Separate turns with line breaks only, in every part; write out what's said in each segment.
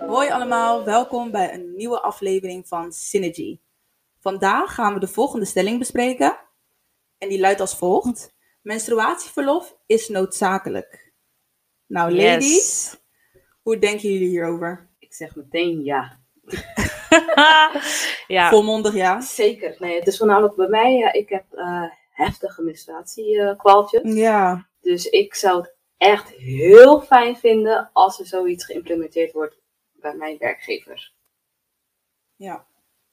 allemaal, welkom bij een nieuwe aflevering van Synergy. Vandaag gaan we de volgende stelling bespreken. En die luidt als volgt: Menstruatieverlof is noodzakelijk.
Oh,
Nou,
Yes.
ladies, hoe denken jullie hierover?
Ik zeg meteen ja.
ja.
Volmondig ja.
Zeker. Nee, het is voornamelijk bij mij. ja, ik heb eh, heftige menstruatiekwaaltjes.
Ja,
dus ik zou het echt heel fijn vinden als er zoiets geïmplementeerd wordt bij mijn werkgever.
ja.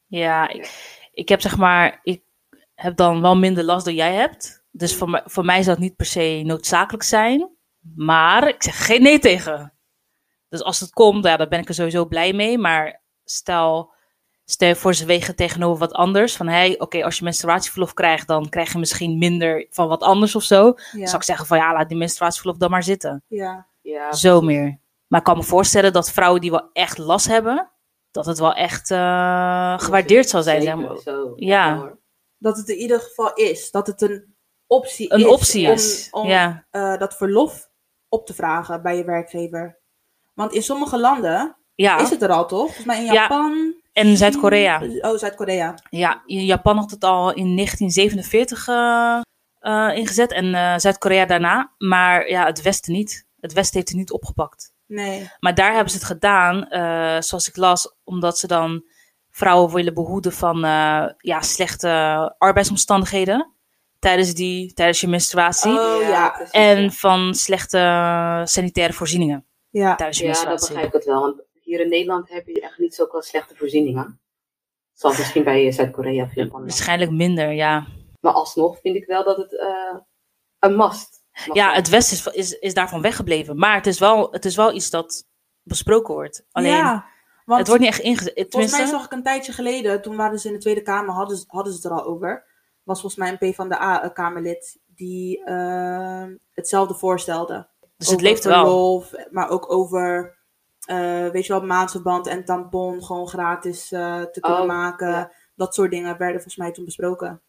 Ja, ik, ik heb zeg maar, ik heb dan wel minder last dan jij hebt. Dus voor, mij- voor mij zou het niet per se noodzakelijk zijn. Maar ik zeg geen nee tegen. Dus als het komt, ja, dan ben ik er sowieso blij mee. Maar stel, stel je voor ze wegen tegenover wat anders. Van hey, oké, als je menstruatieverlof krijgt, dan krijg je misschien minder van wat anders of zo. Dan zou
Ja.
ik zeggen van ja, laat die menstruatieverlof dan maar zitten.
ja.
Ja,
Zo meer. Maar ik kan me voorstellen dat vrouwen die wel echt last hebben, dat het wel echt eh, gewaardeerd zal zijn. Zeg
zeker
maar.
Zo.
Ja.
hoor.
Dat het in ieder geval is. Dat het een optie is.
Een optie
om-
is.
om,
ja.
eh, dat verlof op te vragen bij je werkgever. Want in sommige landen
Ja.
is het er al, toch? Volgens mij in
Ja.
Japan.
en Zuid-Korea.
Oh, Zuid-Korea.
Ja, in Japan had het al in 1947 eh, eh, ingezet en eh, Zuid-Korea daarna. Maar ja, het Westen niet. Het Westen heeft het niet opgepakt.
Nee.
Maar daar hebben ze het gedaan, eh, zoals ik las, omdat ze dan vrouwen willen behoeden van eh, ja, slechte arbeidsomstandigheden tijdens, die, tijdens je menstruatie.
Oh ja.
precies, ja. dus
En van slechte sanitaire voorzieningen
Ja.
tijdens je
Ja, dat
menstruatie.
begrijp ik het wel. Want hier in Nederland heb je echt niet zulke slechte voorzieningen. Zoals misschien bij eh, Zuid-Korea of Japan.
Waarschijnlijk minder, ja.
Maar alsnog vind ik wel dat het eh, een must mag
Ja,
zijn.
het Westen is, is, is daarvan weggebleven. Maar het is, wel, het is wel iets dat besproken wordt. Alleen,
Ja, want
het wordt niet echt ingezet.
volgens mij
Tenminste,
zag ik een tijdje geleden, toen waren ze in de Tweede Kamer, hadden ze, hadden ze het er al over. Was volgens mij een P van de A-Kamerlid die eh, hetzelfde voorstelde.
dus het
Over
leeft wel.
verlof, maar ook over, eh, weet je wel, maandverband en tampon gewoon gratis eh, te kunnen
Oh,
maken.
ja.
Dat soort dingen werden volgens mij toen besproken.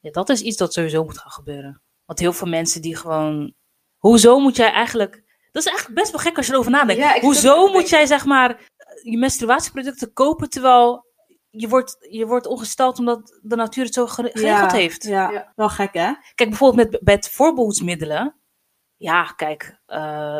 Ja, dat is iets dat sowieso moet gaan gebeuren. Want heel veel mensen die gewoon... Hoezo moet jij eigenlijk... Dat is eigenlijk best wel gek als je erover nadenkt.
Ja, ik zit ook
Hoezo
te
moet jij zeg maar je menstruatieproducten kopen terwijl je wordt, je wordt ongesteld omdat de natuur het zo gere- geregeld heeft?
Ja,
Ja.
wel gek hè?
Kijk, bijvoorbeeld met, met voorbehoedsmiddelen. Ja, kijk, eh,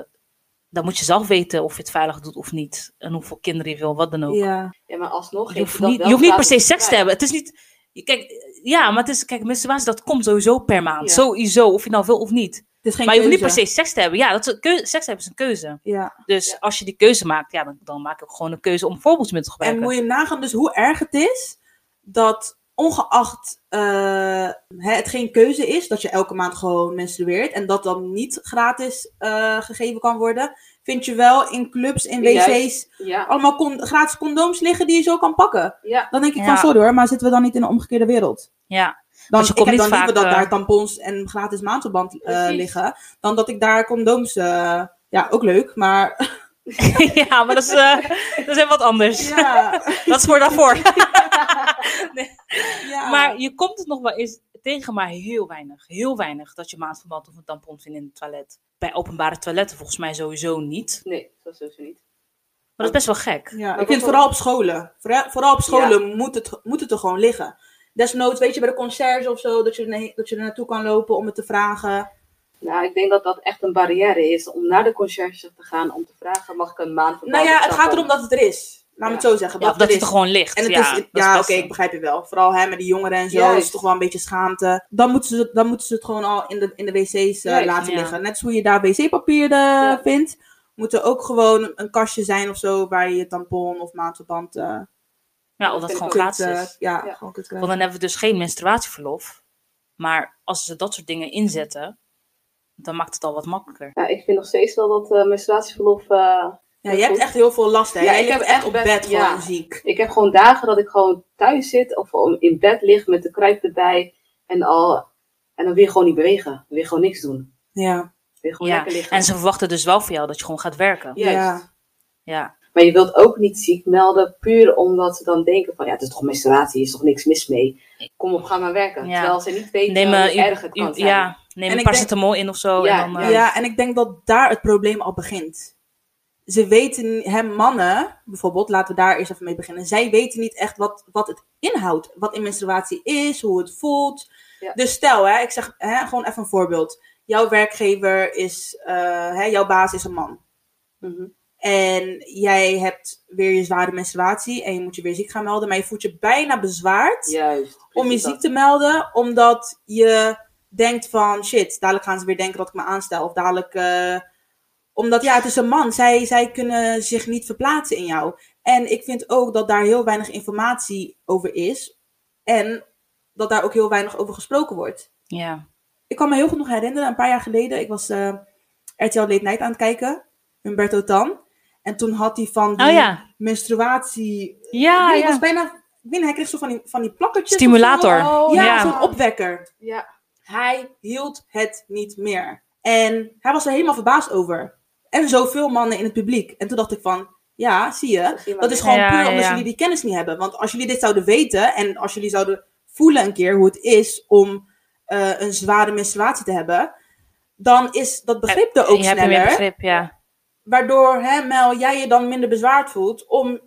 dan moet je zelf weten of je het veilig doet of niet. En hoeveel kinderen je wil, wat dan ook.
Ja,
Ja, maar alsnog.
Je
geeft
hoeft
het dan
niet,
wel
je hoeft niet per se
gratis
seks te
vrij.
hebben. Het is niet. je- Kijk, ja, maar het is. Kijk, menstruatie, dat komt sowieso per maand.
Ja.
Sowieso, of je nou wil of niet.
het is geen
maar je hoeft niet per
keuze.
se seks te hebben. Ja, dat is een keu- seks hebben is een keuze.
Ja.
Dus
Ja.
als je die keuze maakt, ja, dan, dan maak ik gewoon een keuze om voorbeeldmiddel te
En
gebruiken.
moet je nagaan dus hoe erg het is dat ongeacht eh, hè, het geen keuze is, dat je elke maand gewoon menstrueert en dat dan niet gratis eh, gegeven kan worden, vind je wel in clubs, in wc's,
Juist. Ja,
allemaal con- gratis condooms liggen die je zo kan pakken.
ja.
Dan denk ik
Ja.
van, sorry hoor, maar zitten we dan niet in een omgekeerde wereld?
Ja,
Dan,
je
ik
komt
heb
niet
dan liever
vaak,
dat
eh,
daar tampons en gratis maandverband eh,
Precies.
liggen, dan dat ik daar condooms... eh, ja, ook leuk, maar...
ja maar dat is, eh, dat is even wat anders.
Ja,
Dat is voor daarvoor.
ja.
Maar je komt het nog wel eens tegen, maar heel weinig. Heel weinig dat je maandverband of een tampon vindt in het toilet. Bij openbare toiletten volgens mij sowieso niet.
Nee, dat is sowieso niet.
Maar dat is best wel gek.
Ja, ik
wat
vind
voor-
vooral op scholen. Vooral, vooral op scholen moet, het, moet het er gewoon liggen. Desnoods, weet je, bij de conciërge of zo, dat je, er nee- dat je er naartoe kan lopen om het te vragen.
Nou, ik denk dat dat echt een barrière is om naar de conciërge te gaan om te vragen: mag ik een maand van
nou ja, het gaat
tampon?
erom dat het er is. Laat me
Ja.
het zo zeggen.
Ja, of dat
er
het
is.
er gewoon ligt.
En het
ja,
is,
dat
ja oké,
best-
ik begrijp je wel. Vooral hè, met die jongeren en zo,
Juist.
is het toch wel een beetje schaamte. Dan moeten ze, dan moeten ze het gewoon al in de, in de wc's eh,
Juist,
laten
ja.
liggen. Net als hoe je daar wc-papier eh, vindt, moet er ook gewoon een kastje zijn of zo waar je je tampon of maandverband eh,
Ja, of dat het gewoon
kunt,
gratis
eh,
is.
ja,
Ja.
gewoon kunt
Want
krijgen.
dan hebben we dus geen menstruatieverlof. Maar als ze dat soort dingen inzetten, dan maakt het al wat makkelijker.
Ja, ik vind nog steeds wel dat eh, menstruatieverlof. eh,
Ja, je hebt echt heel veel last, hè?
Ja,
Jij
ik
ligt
heb
echt
echt
op
best-
bed
ja.
gewoon ziek.
ik heb gewoon dagen dat ik gewoon thuis zit of om- in bed lig met de kruip erbij en al. En dan weer gewoon niet bewegen. Weer gewoon niks doen.
Ja.
Weer gewoon
Ja.
lekker liggen.
En ze verwachten dus wel van jou dat je gewoon gaat werken.
Juist.
Ja.
Ja,
Maar je wilt ook niet ziek melden, puur omdat ze dan denken van ja, het is toch menstruatie, is toch niks mis mee. Kom op, ga maar werken.
Ja.
Terwijl ze niet weten
neem
hoe
een,
erg het kan zijn.
ja, neem
En
een
ik denk-
paracetamol in of zo.
Ja,
en dan, eh,
ja, en ik denk dat daar het probleem al begint. ze weten, hè, mannen bijvoorbeeld, laten we daar eerst even mee beginnen. Zij weten niet echt wat, wat het inhoudt. Wat een menstruatie is, hoe het voelt.
Ja.
Dus stel, hè, ik zeg hè, gewoon even een voorbeeld. Jouw werkgever is, eh, hè, jouw baas is een man.
Mhm.
En jij hebt weer je zware menstruatie en je moet je weer ziek gaan melden. Maar je voelt je bijna bezwaard
Juist.
om je
precies
ziek
dat.
te melden, omdat je denkt van shit, dadelijk gaan ze weer denken dat ik me aanstel. Of dadelijk, eh, omdat ja, het is een man, zij, zij kunnen zich niet verplaatsen in jou. En ik vind ook dat daar heel weinig informatie over is en dat daar ook heel weinig over gesproken wordt.
Ja.
Ik kan me heel goed nog herinneren, een paar jaar geleden, ik was eh, RTL Late Night aan het kijken, Humberto Tan. En toen had hij van die
Oh ja.
menstruatie,
Ja,
ik was
ja.
bijna, ik weet niet, hij kreeg zo van die, van die plakkertjes. of zo.
Stimulator.
Oh,
Ja,
ja.
zo'n opwekker.
Ja.
Hij hield het niet meer. En hij was er helemaal verbaasd over. En zoveel mannen in het publiek. En toen dacht ik van, ja, zie je.
zie je maar
Dat is
weer.
gewoon
Ja,
puur
ja,
omdat
ja.
jullie die kennis niet hebben. Want als jullie dit zouden weten en als jullie zouden voelen een keer hoe het is om eh, een zware menstruatie te hebben, dan is dat begrip er ook
Je hebt meer
sneller.
begrip, ja.
Waardoor, hè, Mel, jij je dan minder bezwaard voelt om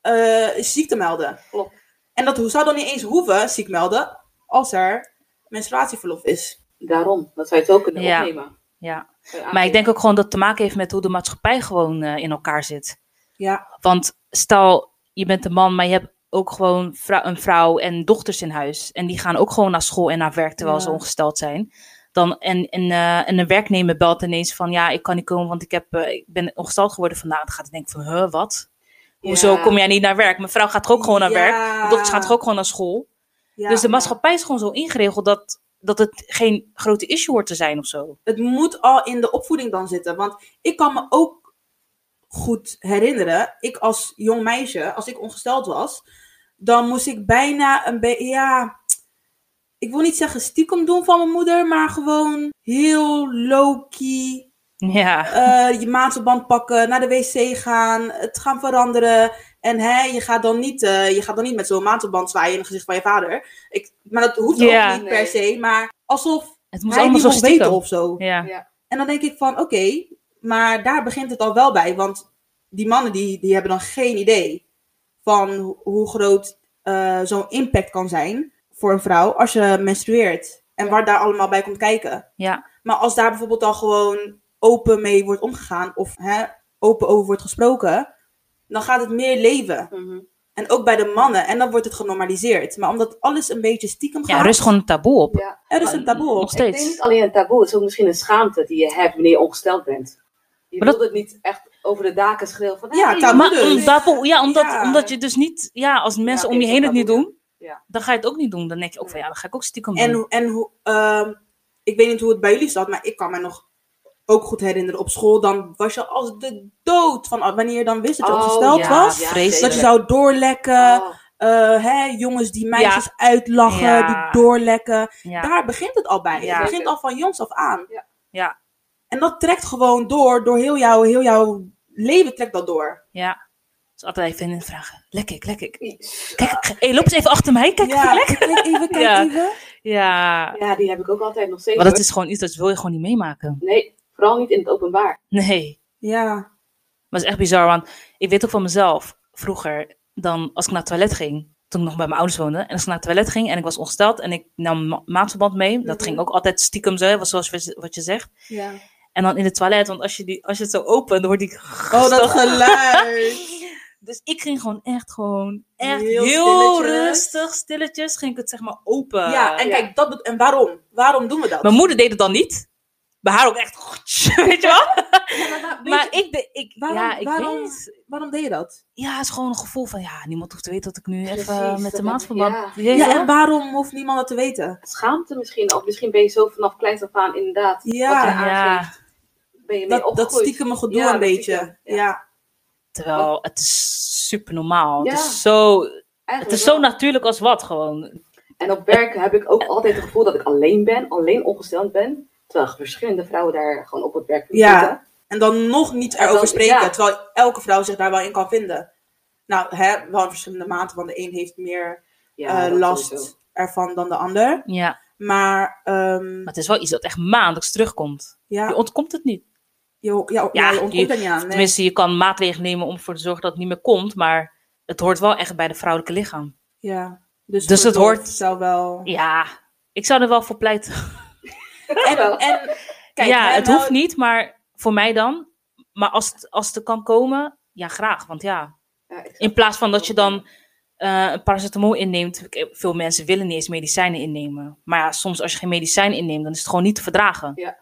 eh, ziek te melden.
Klopt.
En dat zou dan niet eens hoeven, ziek melden, als er menstruatieverlof is.
Daarom, dat zou je het ook kunnen
Ja.
opnemen.
ja.
Zou je
Maar ik
aangeven.
denk ook gewoon dat het te maken heeft met hoe de maatschappij gewoon eh, in elkaar zit.
Ja,
Want stel, je bent een man, maar je hebt ook gewoon vrou- een vrouw en dochters in huis. En die gaan ook gewoon naar school en naar werk terwijl
Ja.
ze ongesteld zijn. Dan, en, en, eh, en een werknemer belt ineens van, ja, ik kan niet komen, want ik, heb, eh, ik ben ongesteld geworden vandaag. Dan gaat hij denken van, huh, wat? Hoezo
Ja.
kom jij niet naar werk? Mijn vrouw gaat toch ook gewoon naar
Ja.
werk? Mijn dochter gaat toch ook gewoon naar school?
ja.
dus de maatschappij is gewoon zo ingeregeld dat, dat het geen grote issue hoort te zijn of zo.
Het moet al in de opvoeding dan zitten. Want ik kan me ook goed herinneren, ik als jong meisje, als ik ongesteld was, dan moest ik bijna een beetje, ja, ik wil niet zeggen stiekem doen van mijn moeder, maar gewoon heel low-key
Ja,
eh, je maandverband pakken, naar de wc gaan, het gaan veranderen. En hè, je, gaat dan niet, eh, je gaat dan niet met zo'n maandverband zwaaien in het gezicht van je vader. Ik, maar dat hoeft
Ja.
ook niet per se. Maar alsof
het moet
hij
allemaal
niet
zo
mocht weten
stiekem.
of zo.
Ja.
En dan denk ik van, oké, maar daar begint het al wel bij. Want die mannen die, die hebben dan geen idee van ho- hoe groot eh, zo'n impact kan zijn voor een vrouw als je menstrueert. En wat daar allemaal bij komt kijken.
Ja.
Maar als daar bijvoorbeeld al gewoon open mee wordt omgegaan of hè, open over wordt gesproken, dan gaat het meer leven.
Mhm.
En ook bij de mannen. En dan wordt het genormaliseerd. Maar omdat alles een beetje stiekem gaat,
ja, er is gewoon een taboe op.
Ja.
er is een taboe op.
Nog steeds.
Ik denk niet alleen een taboe, het is ook misschien een schaamte die je hebt wanneer je ongesteld bent. Je
Maar
wilt
dat-
het niet echt over de daken schreeuwen van...
Ja,
hey,
taboe.
Maar
dus.
om daarvoor- ja, omdat,
Ja.
omdat je dus niet, ja, als mensen
oké,
om je
dat
heen het
kan
niet
ook, ja.
doen,
Ja.
dan ga je het ook niet doen. Dan denk je ook van ja, dan ga ik ook stiekem doen.
En, en hoe- ehm, ik weet niet hoe het bij jullie zat, maar ik kan me nog ook goed herinneren op school. Dan was je als de dood van ah, wanneer je dan wist dat je
Oh,
ongesteld
ja,
was.
ja,
vreselijk.
Dat je zou doorlekken.
Oh,
eh, hè, jongens die meisjes uitlachen,
Ja.
die doorlekken.
ja.
Daar begint het al bij.
Ja.
Het begint al van jongs af aan.
Ja.
Ja.
En dat trekt gewoon door, door heel jouw, heel jouw leven trekt dat door.
ja. Dus altijd even in vragen. Lek ik, lek ik.
iets.
Kijk, ik- hey, loop eens even achter mij. Kijk,
ja,
ja.
kijk even, kijk
Ja.
even.
ja.
Ja, die heb ik ook altijd nog steeds.
Maar dat is gewoon iets dat wil je gewoon niet meemaken.
hoor. Nee, vooral niet in het openbaar.
Nee.
Ja,
Maar het is echt bizar, want ik weet ook van mezelf. Vroeger, dan als ik naar het toilet ging, toen ik nog bij mijn ouders woonde. En als ik naar het toilet ging en ik was ongesteld en ik nam ma- maandverband mee. Dat
Mhm.
ging ook altijd stiekem zo, hè, zoals je- wat je zegt.
ja.
En dan in het toilet, want als je, die, als je het zo opent, dan hoort die...
Oh, dat geluid.
Dus ik ging gewoon echt gewoon, echt
Heel
heel,
stilletjes.
rustig, stilletjes, ging ik het zeg maar open.
ja, en
ja.
kijk, dat, bet- en waarom? Waarom doen we dat?
Mijn moeder deed het dan niet. Bij haar ook echt, weet je wel?
Ja, maar waar- weet
Maar
je-
ik, de, ik
waarom-
ja, ik
waarom-
weet.
waarom deed je dat?
Ja, het is gewoon een gevoel van, ja, niemand hoeft te weten dat ik nu even
Precies,
met
dat
de
heb-
maatverband...
ja.
Weet je
Ja,
wel?
en waarom hoeft niemand dat te weten?
Schaamte misschien, of misschien ben je zo vanaf kleins af aan inderdaad.
Ja.
wat je
Ja,
aangeeft, ben je mee
Dat, dat
opgegroeid.
stiekem gedoe
Ja,
een
dat
beetje.
stiekem, ja.
ja.
terwijl het is super normaal. Het,
Ja.
is zo, het
Eigenlijk
is zo
wel.
natuurlijk als wat gewoon.
En op werk heb ik ook altijd het gevoel dat ik alleen ben, alleen ongesteld ben. Terwijl verschillende vrouwen daar gewoon op het werk
Ja.
zitten.
En dan nog niet
dan-
erover spreken,
ja.
terwijl elke vrouw zich daar wel in kan vinden. Nou, hè, wel in verschillende maten, want de een heeft meer
Ja,
eh,
dat
last
sowieso.
ervan dan de ander.
Ja,
Maar, ehm,
maar het is wel iets dat echt maandelijks terugkomt.
ja.
Je ontkomt het niet.
Je, ja, ja,
Ja,
je ontkomt
je-
er niet aan. Nee.
Tenminste, je kan maatregelen nemen om ervoor te zorgen dat het niet meer komt, maar het hoort wel echt bij de vrouwelijke lichaam.
Ja. Dus,
Dus
voor
het hoort-
Zou wel...
Ja, ik zou er wel voor pleiten.
En, en kijk,
ja,
hè,
het
nou-
hoeft niet, maar voor mij dan. Maar als het, als het er kan komen, ja, graag. Want ja,
Ja, ik-
in plaats van dat je dan eh, een paracetamol inneemt. ik- Veel mensen willen niet eens medicijnen innemen. Maar ja, soms als je geen medicijn inneemt, dan is het gewoon niet te verdragen.
Ja.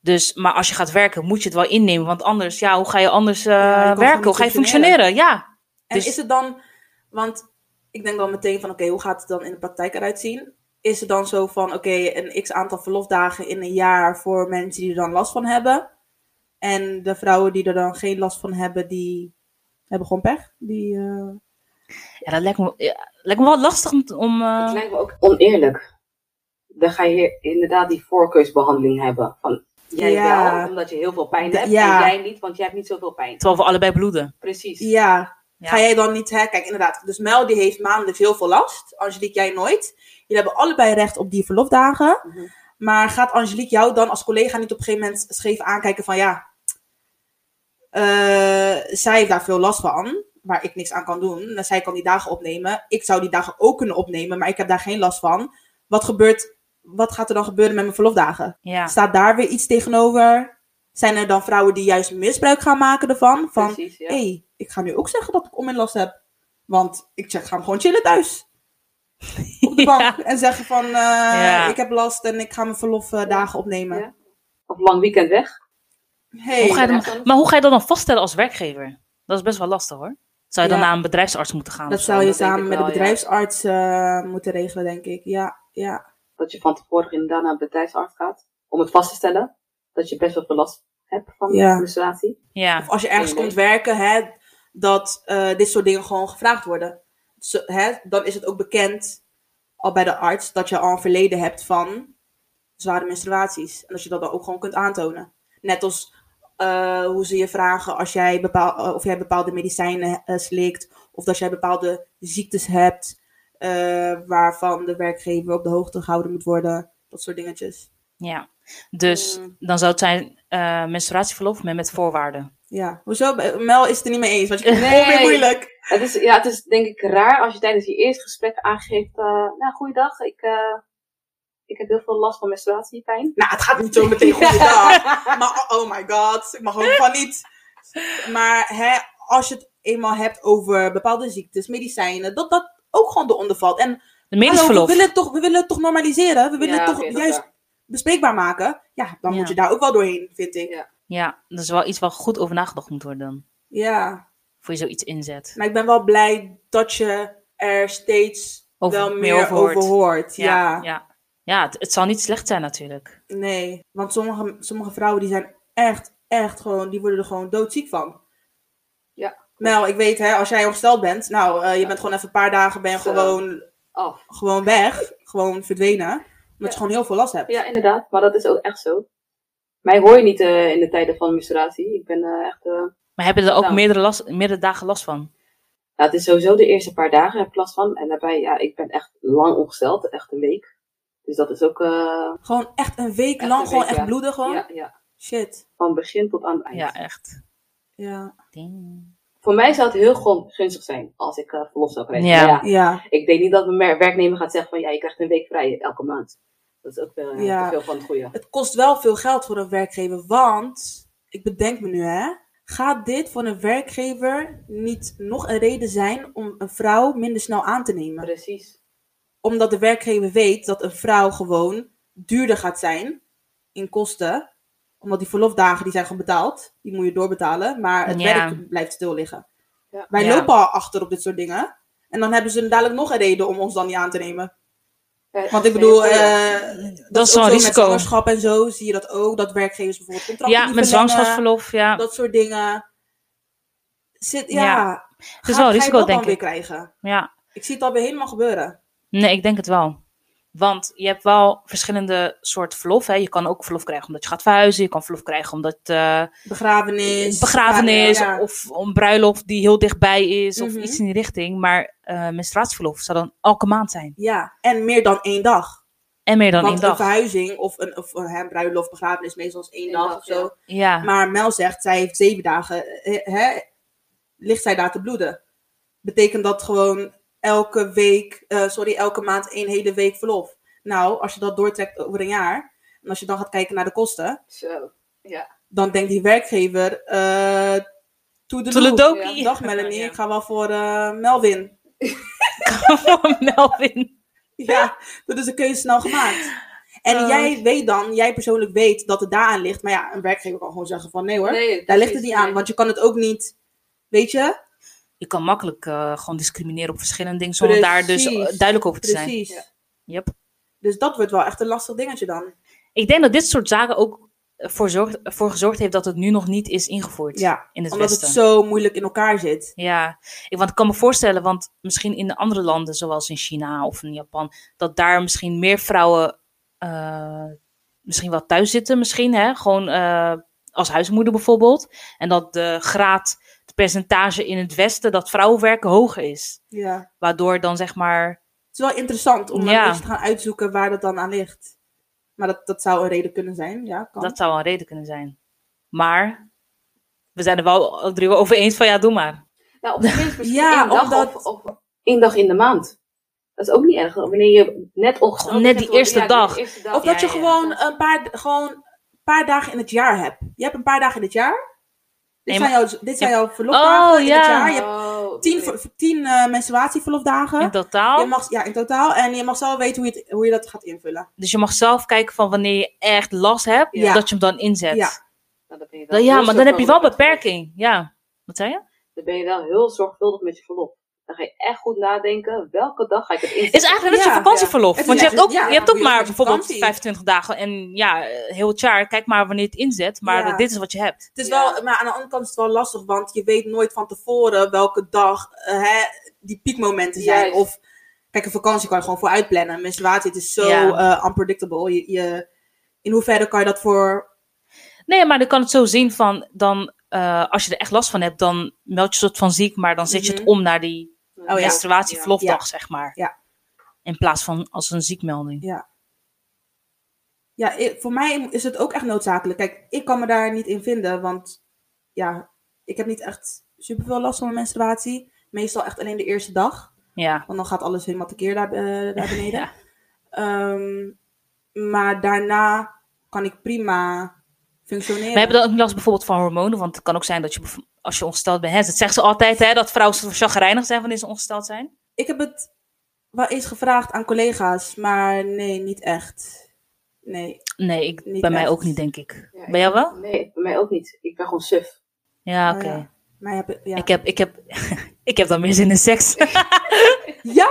Dus, maar als je gaat werken, moet je het wel innemen. Want anders, ja, hoe ga je anders eh,
je kan gewoon
werken? Hoe
niet
ga je
functioneren.
functioneren? Ja.
En
Dus-
is het dan, want ik denk dan meteen van, oké, hoe gaat het dan in de praktijk eruit zien? Is het dan zo van, oké, een x aantal verlofdagen in een jaar voor mensen die er dan last van hebben? En de vrouwen die er dan geen last van hebben, die hebben gewoon pech? Die, eh,
ja, dat lijkt me, ja, lijkt me wel lastig om. om eh,
Het lijkt me ook oneerlijk. Dan ga je hier inderdaad die voorkeursbehandeling hebben. Van, jij
Ja.
wel, omdat je heel veel pijn
De-
hebt.
ja.
En jij niet, want jij hebt niet zoveel pijn.
terwijl we allebei bloeden.
Precies.
ja,
Ja.
ga jij dan niet, hè? Kijk, inderdaad, dus Mel die heeft maandelijks heel veel last. Angelique, jij nooit. Jullie hebben allebei recht op die verlofdagen.
Mhm.
Maar gaat Angelique jou dan als collega niet op een gegeven moment scheef aankijken van ja, eh, zij heeft daar veel last van, waar ik niks aan kan doen. En zij kan die dagen opnemen. Ik zou die dagen ook kunnen opnemen, maar ik heb daar geen last van. Wat gebeurt, wat gaat er dan gebeuren met mijn verlofdagen?
Ja.
Staat daar weer iets tegenover? Zijn er dan vrouwen die juist misbruik gaan maken ervan? Van,
Precies, ja.
hé, hey, ik ga nu ook zeggen dat ik om en last heb. Want ik check, ga hem gewoon chillen thuis. Op de bank.
Ja.
En zeggen van, eh,
Ja.
ik heb last en ik ga mijn verlofdagen opnemen.
Ja. Of lang weekend weg.
Hey.
Hoe ga je
dat-
dan, maar hoe ga je dat dan vaststellen als werkgever? Dat is best wel lastig hoor. Zou je
Ja.
dan naar een bedrijfsarts moeten gaan?
Dat
of zo?
zou je
dat denk
samen
ik
met de
wel, ja.
bedrijfsarts eh, moeten regelen, denk ik. Ja, ja.
Dat je van tevoren inderdaad naar een bedrijfsarts gaat. Om het vast te stellen. Dat je best wel veel last hebt van
Ja.
menstruatie.
Ja,
Of als je ergens
Geen idee.
komt werken, hè, dat eh, dit soort dingen gewoon gevraagd worden. Zo, hè, dan is het ook bekend, al bij de arts, dat je al een verleden hebt van zware menstruaties. En dat je dat dan ook gewoon kunt aantonen. Net als eh, hoe ze je vragen als jij bepaal, eh, of jij bepaalde medicijnen eh, slikt. Of dat jij bepaalde ziektes hebt. eh, waarvan de werkgever op de hoogte gehouden moet worden. Dat soort dingetjes.
ja. Dus
Mm.
dan zou het zijn eh menstruatieverlof maar met voorwaarden.
Ja, hoezo? Mel is het er niet mee eens, want je vindt het
Nee.
gewoon weer moeilijk.
Het is, ja, het is denk ik raar als je tijdens je eerste gesprek aangeeft. eh nou, goeiedag. Ik, eh, ik heb heel veel last van menstruatiepijn.
Nou, het gaat niet zo meteen goed dag. Maar oh my god, ik mag ook van niet. Maar hè, als je het eenmaal hebt over bepaalde ziektes, medicijnen, dat dat ook gewoon eronder valt. En
De medisch
hallo, we,
verlof.
willen het toch, we willen het toch normaliseren? We willen
Ja,
het toch
oké, dat is
juist
waar.
bespreekbaar maken? Ja, dan
Ja.
moet je daar ook wel doorheen, vind ik.
Ja.
Ja, dat is wel iets waar goed over nagedacht moet worden dan.
Ja,
Voor je zoiets inzet.
maar ik ben wel blij dat je er steeds
Over-
wel
meer
meer
over
over
hoort.
hoort.
Ja,
ja.
ja. ja het, het zal niet slecht zijn natuurlijk.
Nee, want sommige, sommige vrouwen die zijn echt, echt gewoon, die worden er gewoon doodziek van.
Ja.
Mel, ik weet hè, als jij ongesteld bent, nou, eh, je
Ja.
bent gewoon even een paar dagen, ben je
Zo.
gewoon,
Af.
gewoon weg, gewoon verdwenen. Omdat
Ja.
je gewoon heel veel last hebt.
Ja, inderdaad. Maar dat is ook echt zo. Mij hoor je niet eh, in de tijden van menstruatie. Ik ben eh, echt... eh,
Maar hebben er ook
Nou.
meerdere, last, meerdere dagen last van?
nou, het is sowieso de eerste paar dagen heb ik last van. En daarbij, ja, ik ben echt lang ongesteld. Echt een week. Dus dat is ook... eh,
Gewoon echt een week
Echt
lang,
een
gewoon
week,
echt
ja.
bloeden gewoon.
ja, ja,
Shit.
van begin tot aan het eind.
Ja, echt.
Ja.
Ding.
Voor mij zou het heel gun- gunstig zijn als ik eh verlof zou krijgen.
Ja.
Maar Ja.
Ja.
Ik denk niet dat mijn mer- werknemer gaat zeggen van... Ja, je krijgt een week vrij elke maand. Dat is ook wel eh,
Ja.
te veel van het goede.
Het kost wel veel geld voor een werkgever, want, ik bedenk me nu hè, gaat dit voor een werkgever niet nog een reden zijn om een vrouw minder snel aan te nemen?
Precies.
omdat de werkgever weet dat een vrouw gewoon duurder gaat zijn in kosten. Omdat die verlofdagen die zijn gewoon betaald. Die moet je doorbetalen. Maar het
Ja.
werk blijft stil liggen.
Ja.
Wij
Ja.
lopen al achter op dit soort dingen. En dan hebben ze dadelijk nog een reden om ons dan niet aan te nemen.
Ja,
Want ik bedoel,
ja.
eh,
Dat is wel
ook
een
zo Met
risico.
zwangerschap en zo zie je dat ook. Dat werkgevers bijvoorbeeld contracten
Ja,
niet
met
verlengen,
zwangerschapsverlof. Ja.
Dat soort dingen. Zit, ja,
Ja.
Het
is wel een risico,
ga je dat
denk
dan weer
ik.
krijgen?
ja.
Ik zie het alweer helemaal gebeuren.
Nee, ik denk het wel. Want je hebt wel verschillende soorten verlof. Hè. Je kan ook verlof krijgen omdat je gaat verhuizen. Je kan verlof krijgen omdat eh
Begrafenis.
begrafenis
Ja.
of een bruiloft die heel dichtbij is. Of
Mhm.
iets in die richting. Maar eh menstruatieverlof zou dan elke maand zijn.
Ja, en meer dan één dag.
En meer dan één
Want een
dag.
verhuizing of een, of een, hè, een bruiloft, begrafenis, meestal is één
Eén
dag
dag,
of zo.
ja.
Ja.
Maar Mel zegt, zij heeft zeven dagen, hè, hè, ligt zij daar te bloeden. Betekent dat gewoon elke week, eh, sorry, elke maand één hele week verlof. Nou, als je dat doortrekt over een jaar, en als je dan gaat kijken naar de kosten,
Zo.
dan denkt die werkgever, eh toedelo.
Toledoki.
Dag Melanie,
Ja.
ik ga wel voor eh, Melvin.
Melvin.
Ja, dat is een keuze snel gemaakt. En
Oh.
jij weet dan, jij persoonlijk weet dat het daaraan ligt. Maar ja, een werkgever kan gewoon zeggen van nee hoor,
Nee,
daar
precies,
ligt het niet
nee.
aan. Want je kan het ook niet, weet je?
Je kan makkelijk eh, gewoon discrimineren op verschillende dingen zonder daar dus eh,
Precies.
duidelijk over te zijn.
Precies.
Ja.
Yep.
Dus dat wordt wel echt een lastig dingetje dan.
Ik denk dat dit soort zaken ook eh, voor, zorgt, voor gezorgd heeft dat het nu nog niet is ingevoerd
Ja,
in het
Omdat
Westen.
het zo moeilijk in elkaar zit.
Ja, ik, want ik kan me voorstellen, want misschien in de andere landen, zoals in China of in Japan, dat daar misschien meer vrouwen eh, misschien wel thuis zitten, misschien, hè? gewoon eh, als huismoeder bijvoorbeeld. En dat de graad, het percentage in het Westen dat vrouwen werken hoger is.
Ja.
Waardoor dan zeg maar,
Het is wel interessant om dan
Ja.
een beetje te gaan uitzoeken waar dat dan aan ligt. Maar dat, dat zou een reden kunnen zijn, ja, kan.
dat zou wel een reden kunnen zijn. Maar we zijn er wel alle drie wel over eens van, ja, doe maar.
Nou, op zich misschien
Ja,
één dag
omdat-
of, of één dag in de maand. Dat is ook niet erg. Wanneer je net
Gewoon
ongeveer...
net die eerste dag.
Of dat
Ja,
je
ja.
gewoon, eh,
Oh,
Een paar, gewoon een paar dagen in het jaar hebt. Je hebt een paar dagen in het jaar. Dit
Nee,
zijn jouw, dit zijn
Ja.
jouw verlofdagen
Oh,
in
ja.
het jaar. Je hebt tien, ver- tien eh, menstruatieverlofdagen.
In
Je
totaal.
mag, ja, in totaal. En je mag zelf weten hoe je, het- hoe je dat gaat invullen.
Dus je mag zelf kijken van wanneer je echt last hebt,
Ja.
dat je hem dan inzet.
Ja.
Nou,
Dan- ja, maar dan heb je wel beperking. Ja. Wat zei je?
Dan ben je wel heel zorgvuldig met je verlof. Dan ga je echt goed nadenken, welke dag ga ik het inzetten?
Is eigenlijk net
Ja,
je vakantieverlof.
ja.
Want je
Het is
hebt ook,
echt- ja,
je hebt ook
hoe je
maar
met je
bijvoorbeeld
vakantie.
25 dagen. En ja, eh, heel het jaar. Kijk maar wanneer je het inzet. Maar
Ja.
eh, dit is wat je hebt.
Het is
Ja.
wel, maar aan de andere kant is het wel lastig, want je weet nooit van tevoren welke dag eh, hè, die piekmomenten zijn.
Juist.
Of, kijk, een vakantie kan je gewoon voor uitplannen. Menstruatie, het is zo
Ja.
eh, unpredictable. Je, je, in hoeverre kan je dat voor...
Nee, maar dan kan het zo zien van dan. eh, als je er echt last van hebt, dan meld je soort van ziek. Maar dan zet je het
Mhm.
om naar die
Oh ja.
menstruatieverlofdag,
Ja.
zeg maar.
Ja.
In plaats van als een ziekmelding.
Ja, ik- voor mij is het ook echt noodzakelijk. Kijk, ik kan me daar niet in vinden, want ja, ik heb niet echt superveel last van mijn menstruatie. Meestal echt alleen de eerste dag.
Ja.
Want dan gaat alles helemaal tekeer daar, eh, daar beneden.
Ja.
Ehm, maar daarna kan ik prima functioneren.
Maar hebben dan ook last bijvoorbeeld van hormonen? Want het kan ook zijn dat je bev- als je ongesteld bent. Hè, dat zeggen ze altijd hè, dat vrouwen zo chagrijnig zijn wanneer ze ongesteld zijn.
Ik heb het wel eens gevraagd aan collega's, maar nee, niet echt. Nee.
Nee, ik,
Niet
bij mij
echt.
ook niet, denk ik.
Ja,
bij
ik-
jou wel?
Nee, bij mij ook niet. Ik ben gewoon suf.
Ja,
Oh
oké.
ja. Maar heb, ja.
Ik, heb, ik, heb, ik heb dan meer zin in seks.
ja!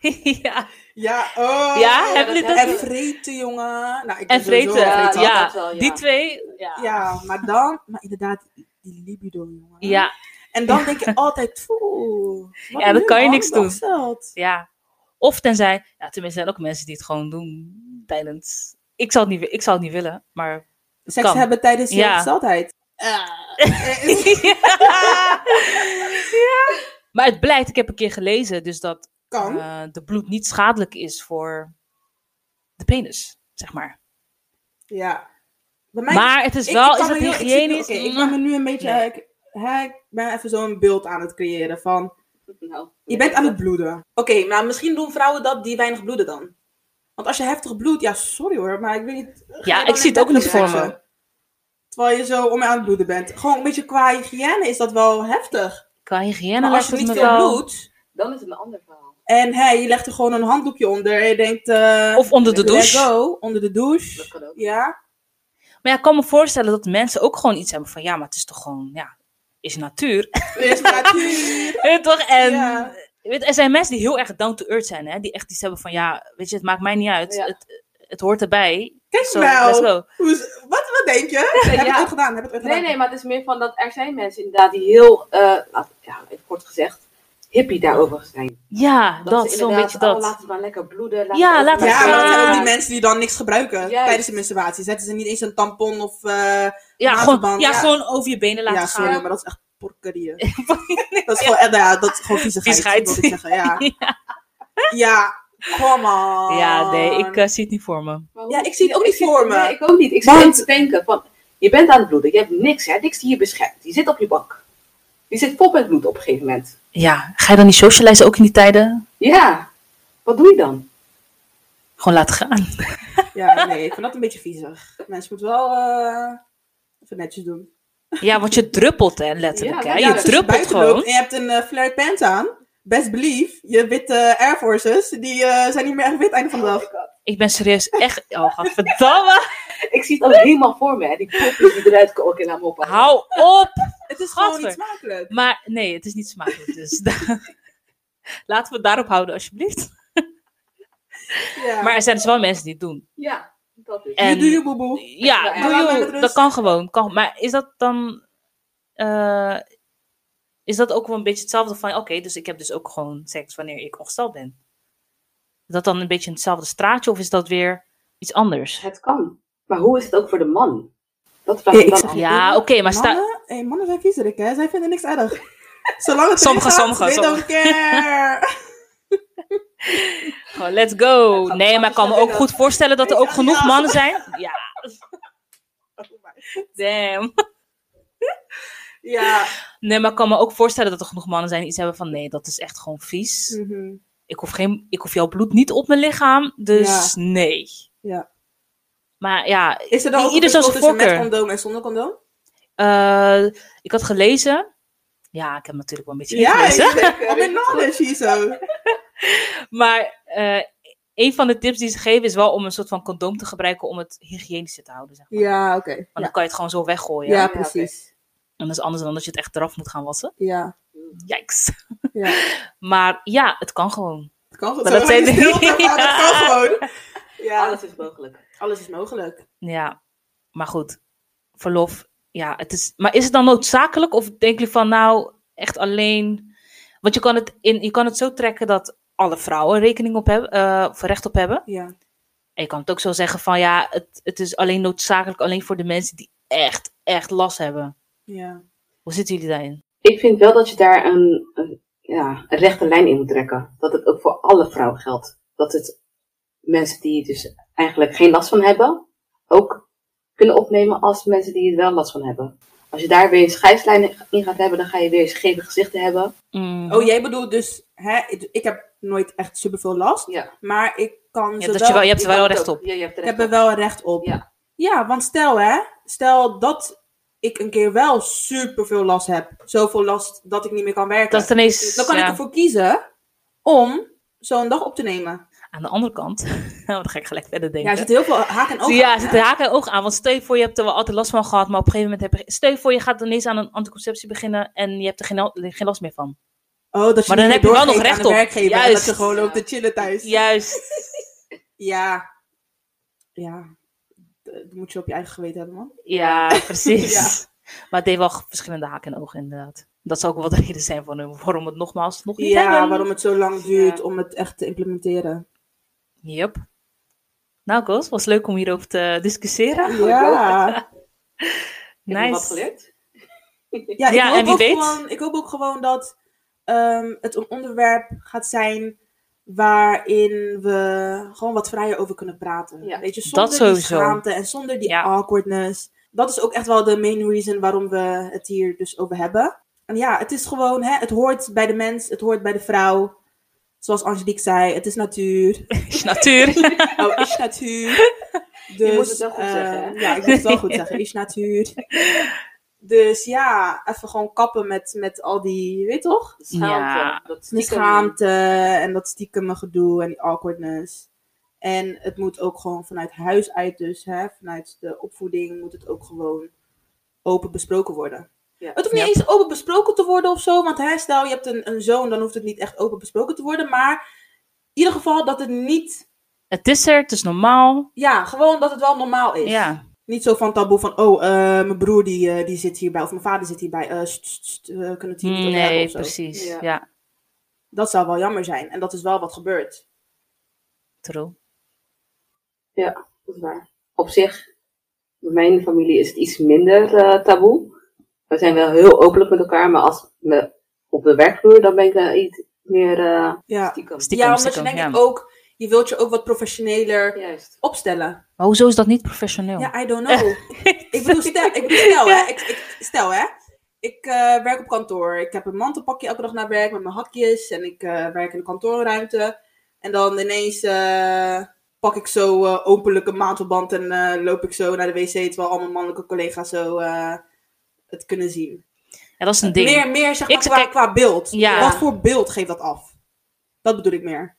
ja.
Ja, oh!
Ja,
dat
hebben jullie dat?
heb
En
niet?
vreten, jongen. Nou, ik ben
En vreten,
sowieso wel
ja,
dat
vreedzaam.
ja,
wel, ja.
Die twee. Ja. ja.
Ja, maar dan... Maar inderdaad, die libido, jongen. En dan denk je altijd... Oeh, wat
Ja, dan
nu,
kan je
man?
niks doen.
Zeldt.
ja. Of tenzij, ja, tenminste, er zijn ook mensen die het gewoon doen tijdens. Ik zou het niet, wi- ik zou het niet willen, maar. het
seks
kan.
hebben tijdens je Eh,
Ja.
ongesteldheid.
ja. Maar het blijkt, ik heb een keer gelezen, dus dat
kan.
eh, de bloed niet schadelijk is voor de penis, zeg maar.
ja. Bij mij
maar het is
ik-
wel,
ik
is
kan
het
me heel- ik zit nu-
hygiënisch?
oké, ik ben me nu een beetje...
Nee.
Ik, hè, ik ben even zo'n beeld aan het creëren van...
Nou,
Je bent aan het bloeden. Oké, maar misschien doen vrouwen dat die weinig bloeden dan. Want als je heftig bloedt... Ja, sorry hoor, maar ik weet niet... ga je
Ja,
dan
ik zie
in
het ook
bed
niet voor
liggen?
me.
Terwijl je zo om en aan het bloeden bent. Gewoon een beetje qua hygiëne is dat wel heftig.
Qua hygiëne
Maar als
lijkt
je
het
niet
me
veel
wel...
bloedt...
Dan is het een ander verhaal.
En hè, je legt er gewoon een handdoekje onder en je denkt... eh,
Of onder de
let
douche.
go, onder de douche.
Dat kan ook.
Ja,
Maar ja, ik kan me voorstellen dat mensen ook gewoon iets hebben van... Ja, maar het is toch gewoon... Ja, is natuur.
dus natuurlijk.
Weet je toch? En
Ja.
weet, er zijn mensen die heel erg down to earth zijn. Hè? Die echt iets hebben van... Ja, weet je, het maakt mij niet uit.
Ja.
Het, het hoort erbij.
Kijk
Zo, let's
wel.
go.
Hoe is- Wat, wat denk je? Heb je
Ja.
het ooit gedaan? Heb je het ooit
Nee,
gedaan?
nee, maar het is meer van dat er zijn mensen inderdaad die heel, eh, laat- ja, even kort gezegd, hippie daarover zijn.
Ja, dat,
ze
zo'n
inderdaad,
beetje dat.
oh, laat het maar lekker bloeden. Laat
Ja,
het
laat het
Ja,
maar-
maar dat
gaan.
zijn ook die mensen die dan niks gebruiken
Juist.
tijdens de menstruatie. Zetten ze niet eens een tampon of... eh,
ja,
maatverband,
gewoon, ja,
ja.
gewoon over je benen laten
ja, sorry,
gaan.
maar dat is echt porkerie. dat is gewoon, eh, nou ja, dat is gewoon viezigheid.
Viezigheid.
wil ik zeggen, ja.
Ja.
ja, Come on.
Ja,
Oh,
nee, ik eh, zie het niet voor me.
Maar
Ja,
hoe-
ik zie het ook niet voor me.
Nee, ik ook niet. Ik
Want-
zit even te denken van, je bent aan het bloeden. Je hebt niks, hè. Niks die je beschermt. Je zit op je bank. Je zit vol met bloed op een gegeven moment.
Ja, ga je dan niet socializen ook in die tijden?
Ja. Wat doe je dan?
Gewoon laten gaan.
Ja, nee, ik vind dat een beetje viezig. Mensen moeten wel eh, even netjes doen.
Ja, want je druppelt hè, letterlijk.
Ja,
hè?
ja,
je
als
druppelt
buiten
gewoon.
loopt en je hebt een eh, flared pants aan. Best believe, je witte eh, Air Forces, die eh, zijn niet meer echt wit einde van de dag.
Ik ben serieus echt... Oh, godverdamme.
Ik zie het ook helemaal voor me, hè. Die kopjes die eruit komen. Oké, laat me ophouden.
Hou op.
Het is
Gadver.
gewoon niet smakelijk.
Maar nee, het is niet smakelijk. Dus da- laten we het daarop houden, alsjeblieft.
Ja.
Maar er zijn dus wel mensen die het doen.
Ja, dat dus. is
En-
You do you, boeboe.
Ja,
Ja,
doe
laat mij
je-
met rust.
dat kan gewoon. Kan, maar is dat dan. eh, is dat ook wel een beetje hetzelfde van. Oké, dus ik heb dus ook gewoon seks wanneer ik ongesteld ben? Is dat dan een beetje in hetzelfde straatje of is dat weer iets anders?
Het kan. Maar hoe is het ook voor de man? Dat vraag
Ja,
ik
ik
dan
zeg-
af.
Ja, oké, maar sta.
Mannen, hey, mannen zijn viezerik, hè? Zij vinden niks erg. Zolang het
Sommige,
erin gaat,
sommige,
they don't care.
Gewoon, Oh, let's go.
gaat
Nee, maar ik kan me
wel
ook
weer
goed voorstellen dat er ook genoeg
Ja. Oh
mannen zijn. Ja, damn.
ja.
Nee, maar ik kan me ook voorstellen dat er genoeg mannen zijn die iets hebben van. Nee, dat is echt gewoon vies.
Mhm.
ik hoef, geen, ik hoef jouw bloed niet op mijn lichaam, dus nee.
Ja.
Maar ja,
Is er dan
I-
ook een
ieder
verschil
zijn
tussen met
voorkeur.
condoom en zonder condoom?
eh, ik had gelezen. Ja, ik heb natuurlijk wel een beetje
Ja,
ingelezen.
zeker. I'm in knowledge hier zo.
Maar eh, een van de tips die ze geven is wel om een soort van condoom te gebruiken om het hygiënischer te houden. Zeg maar.
Ja, oké.
Want
Ja.
dan kan je het gewoon zo weggooien.
Ja,
oké.
precies.
En dat is anders dan dat je het echt eraf moet gaan wassen.
Ja.
Yikes.
Ja.
Maar ja, het kan gewoon.
Het kan
Maar
zo,
dat zijn
die
de-
stilte, maar dat kan gewoon. Ja,
Alles is mogelijk.
alles is mogelijk.
Ja, maar goed. Verlof, ja, het is... Maar is het dan noodzakelijk? Of denk je van, nou, echt alleen... Want je kan het, in, je kan het zo trekken dat alle vrouwen rekening op hebben, eh, of recht op hebben.
Ja.
En je kan het ook zo zeggen van, ja, het, het is alleen noodzakelijk alleen voor de mensen die echt, echt last hebben.
Ja.
Hoe zitten jullie daarin?
Ik vind wel dat je daar een, een, ja, een rechte lijn in moet trekken. Dat het ook voor alle vrouwen geldt. Dat het mensen die dus eigenlijk geen last van hebben, ook kunnen opnemen als mensen die er wel last van hebben. Als je daar weer een scheidslijn in gaat hebben, dan ga je weer scheve gezichten hebben.
Mm.
Oh, jij bedoelt dus, hè, ik- ik heb nooit echt superveel last,
Ja,
maar ik kan
Ja,
zowel...
dat je, wel, je hebt
ik
er wel
had het
recht
ook.
op.
Ja, je hebt er
Ik
recht
heb er wel recht op.
Ja.
Ja, want stel hè, stel dat ik een keer wel superveel last heb. Zoveel last dat ik niet meer kan werken.
Dat is ineens
Dan kan
ja,
ik ervoor kiezen om zo'n dag op te nemen.
aan de andere kant. nou, dan ga ik gelijk verder
Ja,
denken.
er zitten heel veel haak en ogen.
ja,
aan,
zit
hè?
de haak en oog aan. Want stel je voor, je hebt er wel altijd last van gehad. Maar op een gegeven moment heb je... Stel je voor, je gaat ineens aan een anticonceptie beginnen. En je hebt er geen, al- geen last meer van.
Oh, dat je
Maar dan
niet
heb je wel nog
doorgeeft
recht
aan
op.
de werkgever en
Juist.
dat je gewoon loopt te chillen thuis.
Juist.
Ja. Ja. Dat moet je op je eigen geweten hebben, man.
Ja, precies. Maar het deed wel verschillende haken en ogen inderdaad. Dat zou ook wel de reden zijn van hun- waarom het nogmaals nog niet
Ja,
hebben.
waarom het zo lang duurt
Ja.
om het echt te implementeren.
Yep. Nou, Koos, was leuk om hierover te discussiëren.
Ja,
Ja.
op. Heb je wat
nice.
geleerd?
Ja, ik,
Ja,
hoop
en wie
ook
weet?
Gewoon, ik hoop ook gewoon dat ehm, het een onderwerp gaat zijn waarin we gewoon wat vrijer over kunnen praten.
Ja.
Weet je,
Dat
zonder die
sowieso.
schaamte en zonder die
Ja.
awkwardness. Dat is ook echt wel de main reason waarom we het hier dus over hebben. En ja, het is gewoon, hè, het hoort bij de mens, het hoort bij de vrouw. Zoals Angelique zei, het is natuur.
Is Natuur.
Oh, is natuur. Dus,
moet het wel goed
eh,
zeggen, hè?
Ja, ik moet het wel goed zeggen. Is natuur. Dus ja, even gewoon kappen met, met al die, je weet toch?
Schaamte.
Ja.
Dat
Die
stiekem-
schaamte en dat stiekeme gedoe en die awkwardness. En het moet ook gewoon vanuit huis uit dus, hè, vanuit de opvoeding moet het ook gewoon open besproken worden.
Ja.
Het hoeft niet
Ja.
eens open besproken te worden of zo, want hè, stel je hebt een, een zoon, dan hoeft het niet echt open besproken te worden, maar in ieder geval dat het niet,
het is er, het is normaal.
ja, gewoon dat het wel normaal is.
Ja.
Niet zo van taboe van, oh, eh, mijn broer die, eh, die zit hierbij, of mijn vader zit hierbij, eh, st- st- st, we kunnen het hier niet over hebben
Nee,
of zo.
precies.
Ja.
Ja,
Dat zou wel jammer zijn. En dat is wel wat gebeurt.
true.
Dat is waar. Op zich, bij mijn familie is het iets minder eh, taboe. We zijn wel heel openlijk met elkaar, maar als we op de werkvloer, dan ben ik daar iets meer eh
Ja,
stiekem.
Stiekem,
ja omdat
stiekem,
je denk
ja.
ik ook, je wilt je ook wat professioneler
Juist.
opstellen.
Maar hoezo is dat niet professioneel?
Ja, I don't know. ik bedoel, stel, ik bedoel, stel hè. Ik, ik- stel, hè. Ik eh, werk op kantoor. Ik heb een mantelpakje elke dag naar werk met mijn hakjes. En ik eh, werk in de kantoorruimte. En dan ineens eh, pak ik zo eh, openlijk een maandverband en eh, loop ik zo naar de wc. Terwijl al mijn mannelijke collega's zo eh, het kunnen zien.
Ja, dat is een ding.
Meer, meer zeg maar,
Ik-
qua,
kijk-
qua beeld.
Ja.
Wat voor beeld geeft dat af? Dat bedoel ik meer.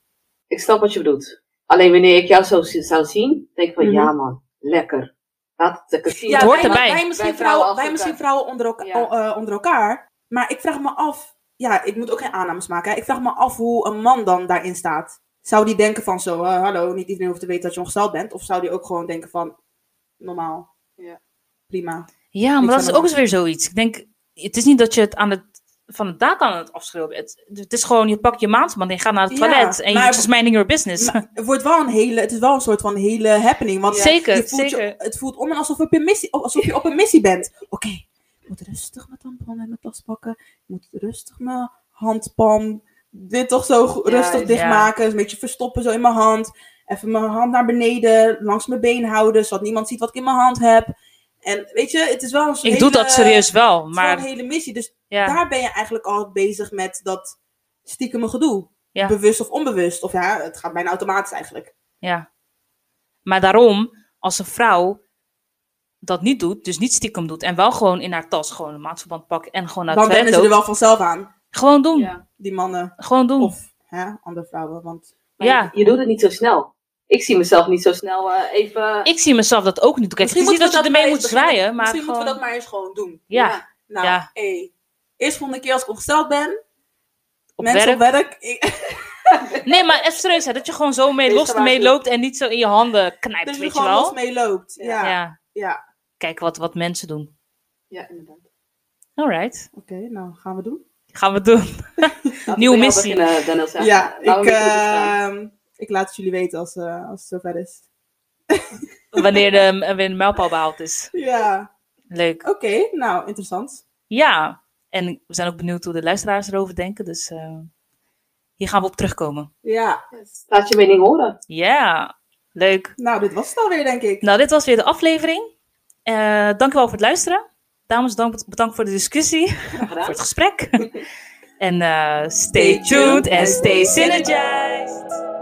Ik snap wat je bedoelt. Alleen wanneer ik jou zo zi- zou zien, denk ik van
Mhm.
ja man, lekker. Laat het lekker zien.
Ja, Het hoort
wij,
erbij.
Wij misschien
Wij vrouwen
vrouwen,
als
wij
elkaar.
misschien vrouwen onder, elka-
Ja.
o- eh, onder elkaar. Maar ik vraag me af. Ja, ik moet ook geen aannames maken. Hè. Ik vraag me af hoe een man dan daarin staat. Zou die denken van zo, eh, hallo, niet iedereen hoeft te weten dat je ongesteld bent? Of zou die ook gewoon denken van, normaal,
Ja.
prima.
Ja,
Ik
maar dat
vind
is
dat
ook eens weer zoiets. Ik denk, het is niet dat je het aan het van het dak aan het afschreeuwen bent. Het is gewoon, je pakt je maandverband en je gaat naar
Ja,
het toilet. en
maar-
je just minding your business.
Maar het, wordt wel een hele, het is wel een soort van hele happening. Want
Ja.
zeker,
je voelt je-
zeker.
het voelt om en alsof, op je missie, alsof je op een missie bent. Oké, ik moet rustig mijn tampon en mijn tas pakken. Ik moet rustig mijn handpalm, dit toch zo go-
Ja,
rustig
ja.
dichtmaken. Een beetje verstoppen zo in mijn hand. Even mijn hand naar beneden, langs mijn been houden, zodat niemand ziet wat ik in mijn hand heb. En weet je, het is wel een
ik doe dat serieus wel,
Maar... een
maar
hele missie. Dus
ja,
daar ben je eigenlijk al bezig met dat stiekeme gedoe.
Ja. Nou,
Bewust of onbewust. Of ja, het gaat bijna automatisch eigenlijk.
ja. Maar daarom, als een vrouw dat niet doet, dus niet stiekem doet, en wel gewoon in haar tas gewoon een maandverband pakt en gewoon naar het
Dan wennen
toilet
ze er
loopt.
wel vanzelf aan,
Gewoon doen,
Ja.
die mannen.
gewoon doen.
Of hè, andere vrouwen. Want
Maar
Ja.
Je, je doet het niet zo snel. Ik zie mezelf niet zo snel eh, even.
Ik zie mezelf dat ook niet doen. Kijk, het is niet dat je ermee moet zwaaien, maar
Misschien moeten we
gewoon...
dat maar eens gewoon doen.
Ja,
Nou,
Ja.
hé. Eerst volgende keer als ik ongesteld ben.
op
mensen
werk.
op werk. ik-
Nee, maar even serieus, hè, dat je gewoon zo mee
Wees
los mee
gewaarschuwd.
loopt en niet zo in je handen knijpt,
dat je er
weet je
gewoon
wel?
los mee loopt. Ja.
ja.
ja.
Kijk wat, wat mensen doen.
Ja, inderdaad.
Alright,
Oké, nou gaan we doen.
gaan we het doen.
Laten we
Nieuwe
bij jou
missie.
Beginnen, Dennis, hè?
Ja,
Laten we
ik,
met jou beginnen.
ehm, ik laat het jullie weten als, eh, als het zover is.
Wanneer de, wanneer de mijlpaal behaald is.
Ja,
Leuk.
oké. nou, interessant.
Ja, en we zijn ook benieuwd hoe de luisteraars erover denken, dus eh, hier gaan we op terugkomen.
Ja,
Yes. Laat je mening horen.
Ja, leuk.
nou, dit was het alweer, denk ik.
Nou, dit was weer de aflevering. Eh dankjewel voor het luisteren. Dames, dank, bedankt voor de discussie.
Graag gedaan.
voor het gesprek. en eh, stay tuned en stay synergized.